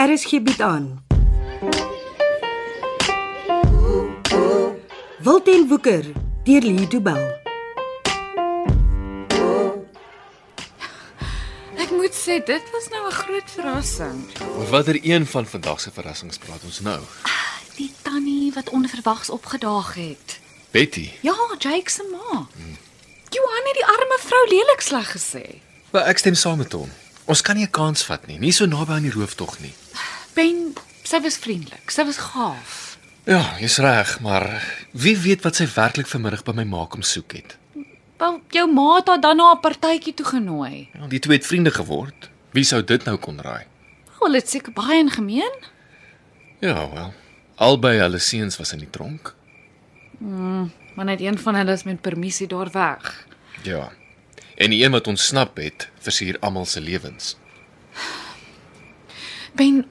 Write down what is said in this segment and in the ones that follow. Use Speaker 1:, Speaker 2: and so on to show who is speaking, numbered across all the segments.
Speaker 1: RSG bied Er aan. Wilten Woeker deur Lee Du Bell.
Speaker 2: Ek moet sê dit was nou 'n groot verrassing.
Speaker 3: Oor watter een van vandag se verrassings praat ons nou?
Speaker 2: Die tannie wat onverwags opgedaag het.
Speaker 3: Betty.
Speaker 2: Ja, Jake se ma. Johan het die arme vrou lelik sleg gesê.
Speaker 3: Wel, ek stem saam met hom. Ons kan nie 'n kans vat nie, nie so naby aan die rooftog nie.
Speaker 2: Ben, sy was vriendelik, sy was gaaf.
Speaker 3: Ja, jy's reg, maar wie weet wat sy werklik vanmiddag by my ma kom soek het.
Speaker 2: Wel, jou ma het haar dan na 'n partytjie toe genooi.
Speaker 3: Ja, die twee het vriende geword. Wie sou dit nou kon raai?
Speaker 2: Hulle het seker baie in gemeen.
Speaker 3: Ja, wel. Albei hulle seuns was in die tronk.
Speaker 2: Maar net een van hulle is met permissie daar weg.
Speaker 3: Ja. En die een wat ontsnap het, versuur almal se lewens.
Speaker 2: Ben,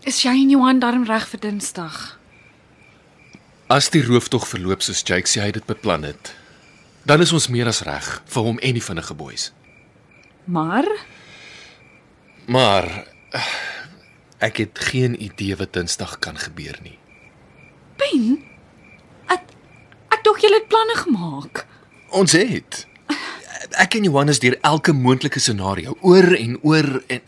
Speaker 2: is jy en Johan darm reg vir Dinsdag?
Speaker 3: As die rooftog verloop soos Jake sê hy dit beplan het, dan is ons meer as reg vir hom en die vinnige boeis.
Speaker 2: Maar
Speaker 3: Maar eh, ek het geen idee wat Dinsdag kan gebeur nie.
Speaker 2: Ben, ek ek dink julle het planne gemaak.
Speaker 3: Ons het ek en Johannes deur elke moontlike scenario oor en oor en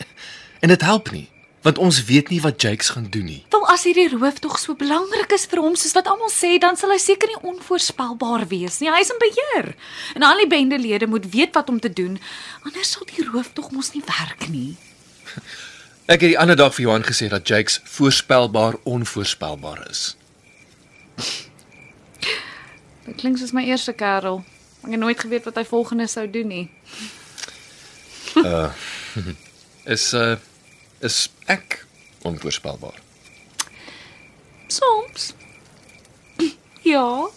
Speaker 3: en dit help nie, want ons weet nie wat Jakes gaan doen nie.
Speaker 2: Wel as hierdie rooftog so belangrik is vir hom soos wat almal sê, dan sal hy seker nie onvoorspelbaar wees nie. Hy is in beheer. En al die bendelede moet weet wat om te doen, anders sal die rooftog mos nie werk nie.
Speaker 3: Ek het die ander dag vir Johan gesê dat Jakes voorspelbaar onvoorspelbaar is.
Speaker 2: Dit klink soos my eerste kerel. Ek het nooit geweet wat hy volgende sou doen nie.
Speaker 3: Is uh is ek onvoorspelbaar?
Speaker 2: Soms. Ja,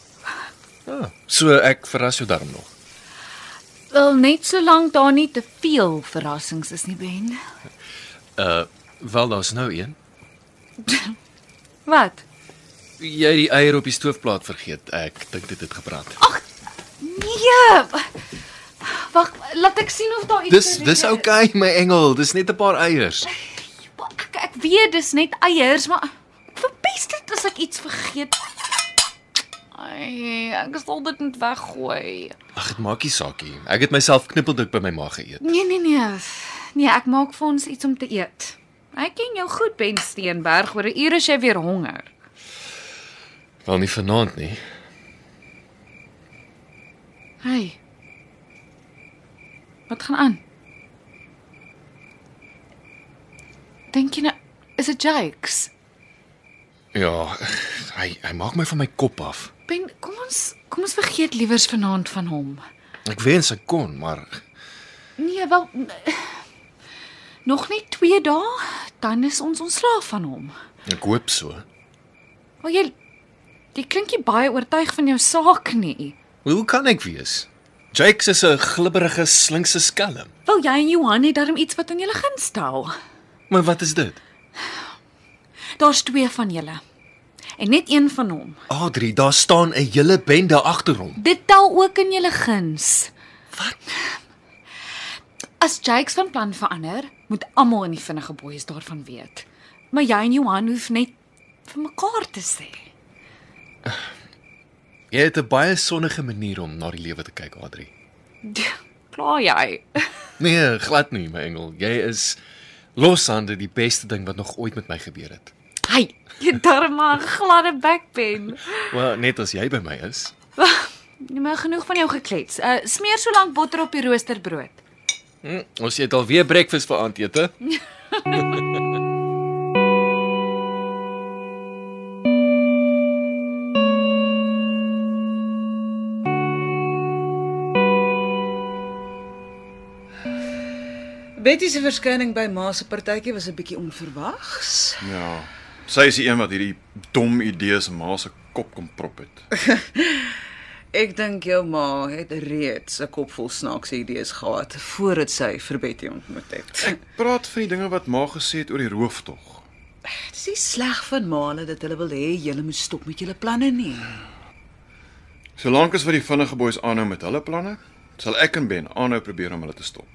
Speaker 3: Ah, so ek verras jou darm nog.
Speaker 2: wel net solank daar nie te veel verrassings is nie, Ben.
Speaker 3: Uh wel daar's nou een.
Speaker 2: Wat?
Speaker 3: Jy het die eier op die stoofplaat vergeet. Ek dink dit het gebrand.
Speaker 2: Ag nee. Wag, laat ek sien of daar iets
Speaker 3: Dis dis
Speaker 2: gerede-
Speaker 3: oukei okay, my engel, dis net 'n paar eiers.
Speaker 2: Maar Ek ek weet dis net eiers, maar verpes dit as ek iets vergeet. Ai, ek sal dit net weggooi.
Speaker 3: Ag, dit maak nie saak nie. Ek het myself knippeldik by my ma geëet.
Speaker 2: Nee nee nee. Nee, ek maak vir ons iets om te eet. Ek ken jou goed, Ben Steenberg. Oor 'n uur is jy weer honger.
Speaker 3: Wel nie vanaand nie.
Speaker 2: Hey. Wat gaan aan? Dink jy nou is dit Jakes?
Speaker 3: Ja, hy hy maak my van my kop af.
Speaker 2: Ben, kom ons kom ons vergeet liewers vanaand van hom.
Speaker 3: Ek wens ek kon, maar
Speaker 2: Nee, wel n- nog net 2 dae, dan is ons ontslaaf van hom.
Speaker 3: ek hoop so.
Speaker 2: Maar jy jy klink nie baie oortuig van jou saak nie.
Speaker 3: Maar Hoe kan ek wees? Jakes is 'n glibberige slinkse skelm.
Speaker 2: Wil jy en Johan het darm iets wat aan julle gunstel?
Speaker 3: Maar wat is dit?
Speaker 2: Daar's twee van julle. En net een van hom.
Speaker 3: Adri, daar staan 'n hele bende agter hom.
Speaker 2: Dit tel ook in julle guns. Wat? As Jakes van plan verander, moet almal in die vinnige boeis daarvan weet. Maar jy en Johan hoef net vir mekaar te sê.
Speaker 3: Jy het 'n baie sonnige manier om na die lewe te kyk, Adri.
Speaker 2: Klaar jy.
Speaker 3: Nee, glad nie, my engel. Jy is loshande die beste ding wat nog ooit met my gebeur het.
Speaker 2: Hy, jy darma gladde backpen.
Speaker 3: Wel, net as jy by my is.
Speaker 2: Nee, maar genoeg van jou geklets. Uh smeer so lank botter op die roosterbrood.
Speaker 3: Hm, ons eet alweer breakfast vir aandete.
Speaker 4: Betty se verskyning by ma se partytjie was 'n bietjie onverwags.
Speaker 5: Ja. Sy is die een wat hierdie dom idees in ma se kop kom prop het.
Speaker 4: Ek dink jou ma het reeds 'n kop vol snaakse idees gehad voordat sy vir Betty ontmoet het.
Speaker 5: Ek praat van die dinge wat ma gesê het oor die rooftog.
Speaker 4: Dit is nie sleg van Male dat hulle wil hê julle moet stop met julle planne nie.
Speaker 5: Solank as wat die vinnige boeis aanhou met hulle planne, sal ek en Ben aanhou probeer om hulle te stop.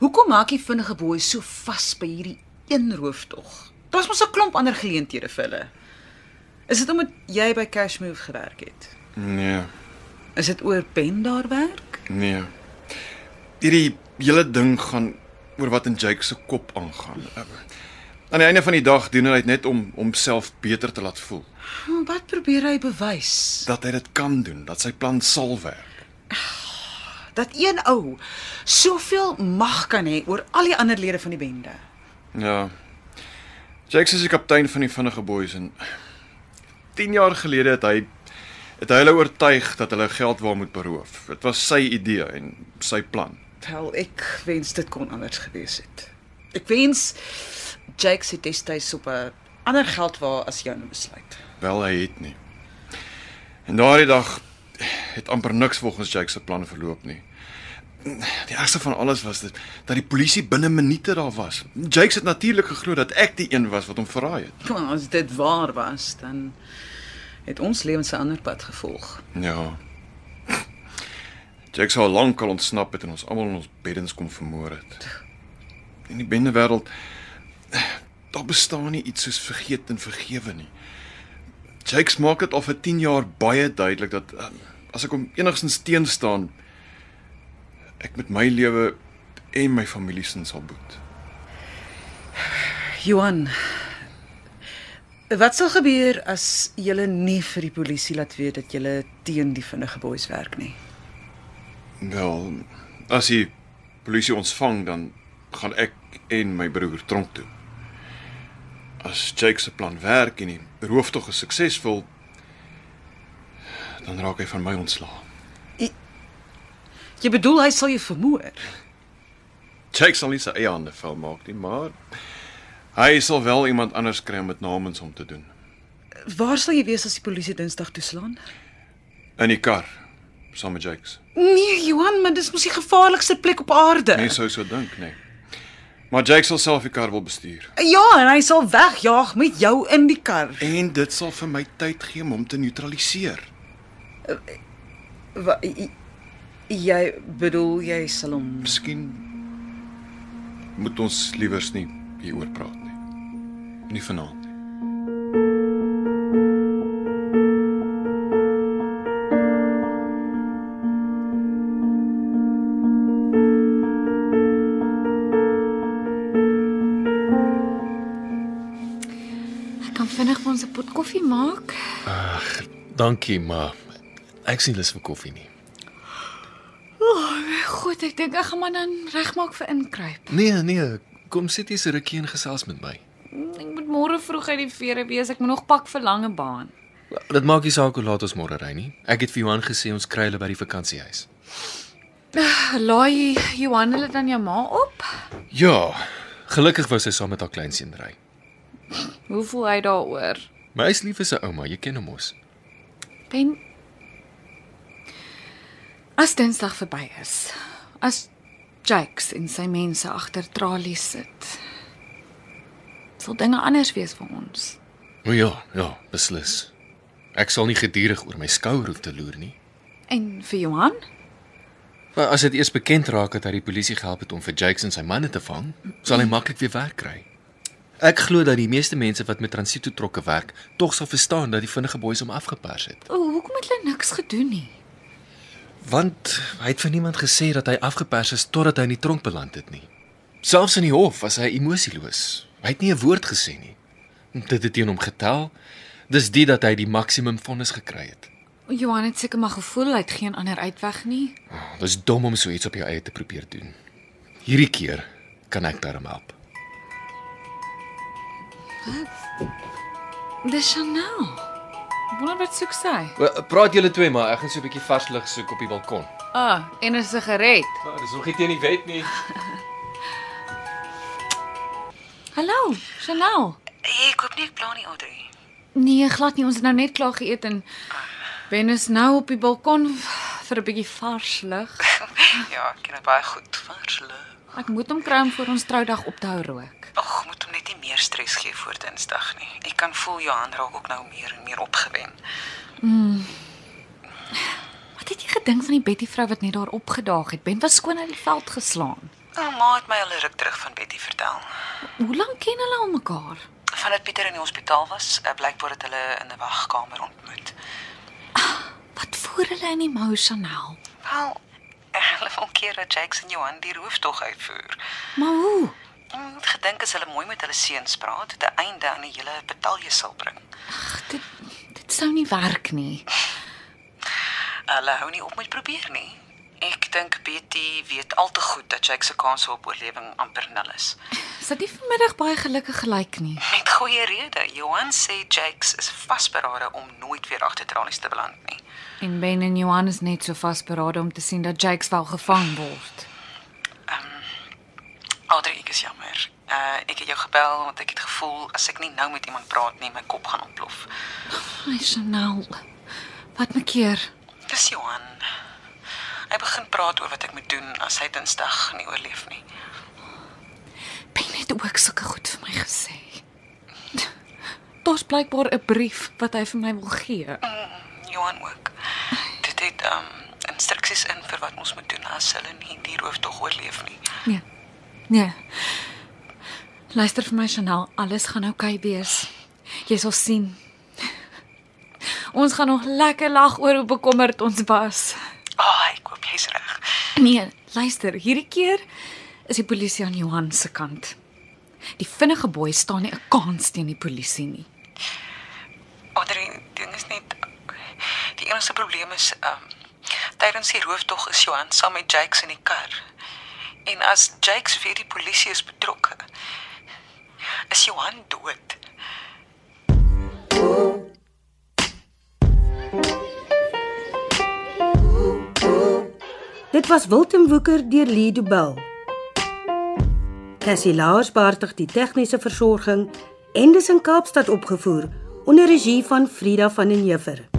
Speaker 4: Hoekom maak die vinnige boei so vas by hierdie een rooftog. Daar's mos 'n klomp ander geleenthede vir hulle. Is dit omdat jy by Cashmove gewerk het?
Speaker 5: Nee,
Speaker 4: Is dit oor Ben daar werk?
Speaker 5: nee. Hierdie hele ding gaan oor wat in Jake se kop aangaan. Aan die einde van die dag doen hy dit net om homself beter te laat voel.
Speaker 4: Hm, Wat probeer hy bewys?
Speaker 5: Dat hy dit kan doen, dat sy plan sal werk.
Speaker 4: Dat een ou soveel mag kan hê oor al die ander lede van die bende.
Speaker 5: Ja. Jake is die kaptein van die vinnige boeis en 10 jaar gelede het hy het hy hulle oortuig dat hulle geld waar moet beroof. Dit was sy idee en sy plan.
Speaker 4: Wel, ek wens dit kon anders gewees het. Ek wens Jake se destyds op 'n ander geld waar as joune besluit.
Speaker 5: Wel hy het nie. En daardie dag het amper niks volgens Jake se plan verloop nie. Die ergste van alles was dit dat die polisie binne minute daar was. Jake het natuurlik geglo dat ek die een was wat hom verraai het.
Speaker 4: Maar as dit waar was, dan het ons lewens 'n ander pad gevolg.
Speaker 5: Ja. Jake sou al lank al ontsnap het en ons almal in ons beddens kom vermoor het. In die bendewêreld daar bestaan nie iets soos vergeet en vergewe nie. Jake maak dit al vir 10 jaar baie duidelik dat eh, as ek hom enigstens teenstaan ek met my lewe en my familie sin sal boet.
Speaker 4: Johan, wat sal gebeur as jy nie vir die polisie laat weet dat jy teen die vinnige boeis werk nie?
Speaker 5: Wel, as die polisie ons vang, dan gaan ek en my broer tronk toe. As Jake se plan werk en die rooftog is suksesvol, dan raak hy van my ontslae.
Speaker 4: Jy bedoel hy sal jou vermoor?
Speaker 5: Jake sal nie sy eie hande vuil maak nie, maar hy sal wel iemand anders kry om dit namens hom te doen.
Speaker 4: Waar sal jy wees as die polisie Dinsdag toeslaan?
Speaker 5: In die kar saam met Jake.
Speaker 4: Nee, Johan, maar dis mos die gevaarlikste plek op aarde.
Speaker 5: Mense sou so dink, nee. Maar Jake sal self die kar wil bestuur.
Speaker 4: Ja, en hy sal wegjaag met jou in die kar.
Speaker 5: En dit sal vir my tyd gee om hom te neutraliseer.
Speaker 4: Wa j- jy bedoel jy sal hom
Speaker 5: Miskien moet ons liewers nie hieroor praat nie. Nie vanaand nie.
Speaker 2: Ek kan vinnig vir ons 'n pot koffie maak.
Speaker 3: Dankie, maar ek sien lus vir koffie nie.
Speaker 2: Goed, ek dink ek gaan maar dan regmaak vir inkruip.
Speaker 3: Nee, nee, kom sit hier so rukkie en gesels met my.
Speaker 2: Ek moet môre vroeg uit die vere wees. Ek moet nog pak vir lange baan.
Speaker 3: Dit maak nie saak hoe laat ons môre ry nie. Ek het vir Johan gesê ons kry hulle by die vakansiehuis.
Speaker 2: Laai Johan hulle dan jou ma op?
Speaker 3: Ja, gelukkig wou sy saam met haar kleinseun ry.
Speaker 2: Hoe voel hy daaroor?
Speaker 3: Maar hy's lief vir sy ouma, jy ken hom mos.
Speaker 2: Ben As Dinsdag verby is, as Jakes en sy mense agter tralies sit, sal dinge anders wees vir ons.
Speaker 3: O ja, ja, beslis. Ek sal nie gedurig oor my skouer hoef te loer nie.
Speaker 2: En vir Johan?
Speaker 3: Maar as dit eers bekend raak dat hy die polisie gehelp het om vir Jakes en sy manne te vang, sal hy maklik weer werk kry. Ek glo dat die meeste mense wat met transito trokke werk, tog sal verstaan dat die vinnige boeis hom afgepers het.
Speaker 2: O, hoekom het hulle niks gedoen nie?
Speaker 3: Want hy het vir niemand gesê dat hy afgepers is totdat hy in die tronk beland het nie. Selfs in die hof was hy emosieloos. Hy het nie 'n woord gesê nie. Dit het teen hom getel. Dis dit dat hy die maksimum vonnis gekry het.
Speaker 2: Johan het seker maar gevoel hy het geen ander uitweg nie.
Speaker 3: Oh, Dis dom om so iets op jou eie te probeer doen. Hierdie keer kan ek daarmee help.
Speaker 2: Dis Chanel. Wonder wat soek sy?
Speaker 3: Praat julle twee maar, ek gaan so 'n bietjie vars lug soek op die balkon.
Speaker 2: Ah, en 'n sigaret.
Speaker 3: Maar dis nog nie teen die wet nie.
Speaker 2: Hallo, Chanel.
Speaker 4: Ek koop nie ek plan nie, Audrey.
Speaker 2: Nee, glad nie. Ons het nou net klaar geëet en Ben is nou op die balkon vir 'n bietjie vars lug.
Speaker 4: ja, ek ken dit baie goed. Versle.
Speaker 2: Ek moet hom kry om vir ons troudag op te hou rook.
Speaker 4: Ag, moet hom net nie meer stres gee voor Dinsdag nie. Ek kan voel Johan raak ook nou meer en meer opgewen.
Speaker 2: Wat het jy gedink van die Betty vrou wat net daar opgedaag het? Ben was skoon uit die veld geslaan.
Speaker 6: Nou, ma het my al 'n ruk terug van Betty vertel.
Speaker 2: Hoe lank ken hulle al mekaar?
Speaker 6: Vandat Pieter in die hospitaal was, eh, blykbaar het hulle in 'n wagkamer ontmoet.
Speaker 2: Wat voer hulle in emotional?
Speaker 6: Wel, hulle wil keer dat Jakes en Johan die rooftog uitvoer.
Speaker 2: Maar hoe?
Speaker 6: Ek het gedink as hulle mooi met hulle seuns praat, dit 'n einde aan die hele betalje sal bring.
Speaker 2: Ag, dit dit sou nie werk nie.
Speaker 6: Hulle hou nie op met probeer nie. Ek dink Betty weet al te goed dat Jakes se kans op oorlewing amper nul is.
Speaker 2: Is dit nie vanmiddag baie gelukkig gelyk nie?
Speaker 6: Met goeie rede. Johan sê Jakes is vasberade om nooit weer agter tralies te beland nie.
Speaker 2: En Ben en Johan is net so vasberade om te sien dat Jakes wel gevang word.
Speaker 6: Adrie, ek is jammer. Uh ek het jou gebel want ek het gevoel as ek nie nou met iemand praat nie, my kop gaan ontplof.
Speaker 2: Ai, Chanel. Wat maak keer?
Speaker 6: Dis Johan. Hy begin praat oor wat ek moet doen as hy Dinsdag nie oorleef nie.
Speaker 2: Ben het ook sulke goed vir my gesê. Daar's blykbaar 'n brief wat hy vir my wil gee.
Speaker 6: Johan ook. Dit het um instruksies in vir wat ons moet doen as hulle nie die rooftog oorleef nie.
Speaker 2: Nee. Nee. Luister vir my Chanel, alles gaan oukei okay wees. Jy sal sien. Ons gaan nog lekker lag oor hoe bekommerd ons was.
Speaker 6: Ah, oh, ek hoop jy's reg.
Speaker 2: Nee, luister, hierdie keer is die polisie aan Johan se kant. Die vinnige boei staan nie 'n kans teen die polisie nie.
Speaker 6: Adrie, ding is net die enigste probleem is um tydens die rooftog is Johan saam met Jakes in die kar. En as Jakes weet die polisie is betrokke, is Johan dood.
Speaker 1: Dit was Wilten Woeker deur Lee Du Bell. Cassie Lars beheerdig die tegniese versorging en dis in Kaapstad opgevoer onder regie van Frida van den Heever.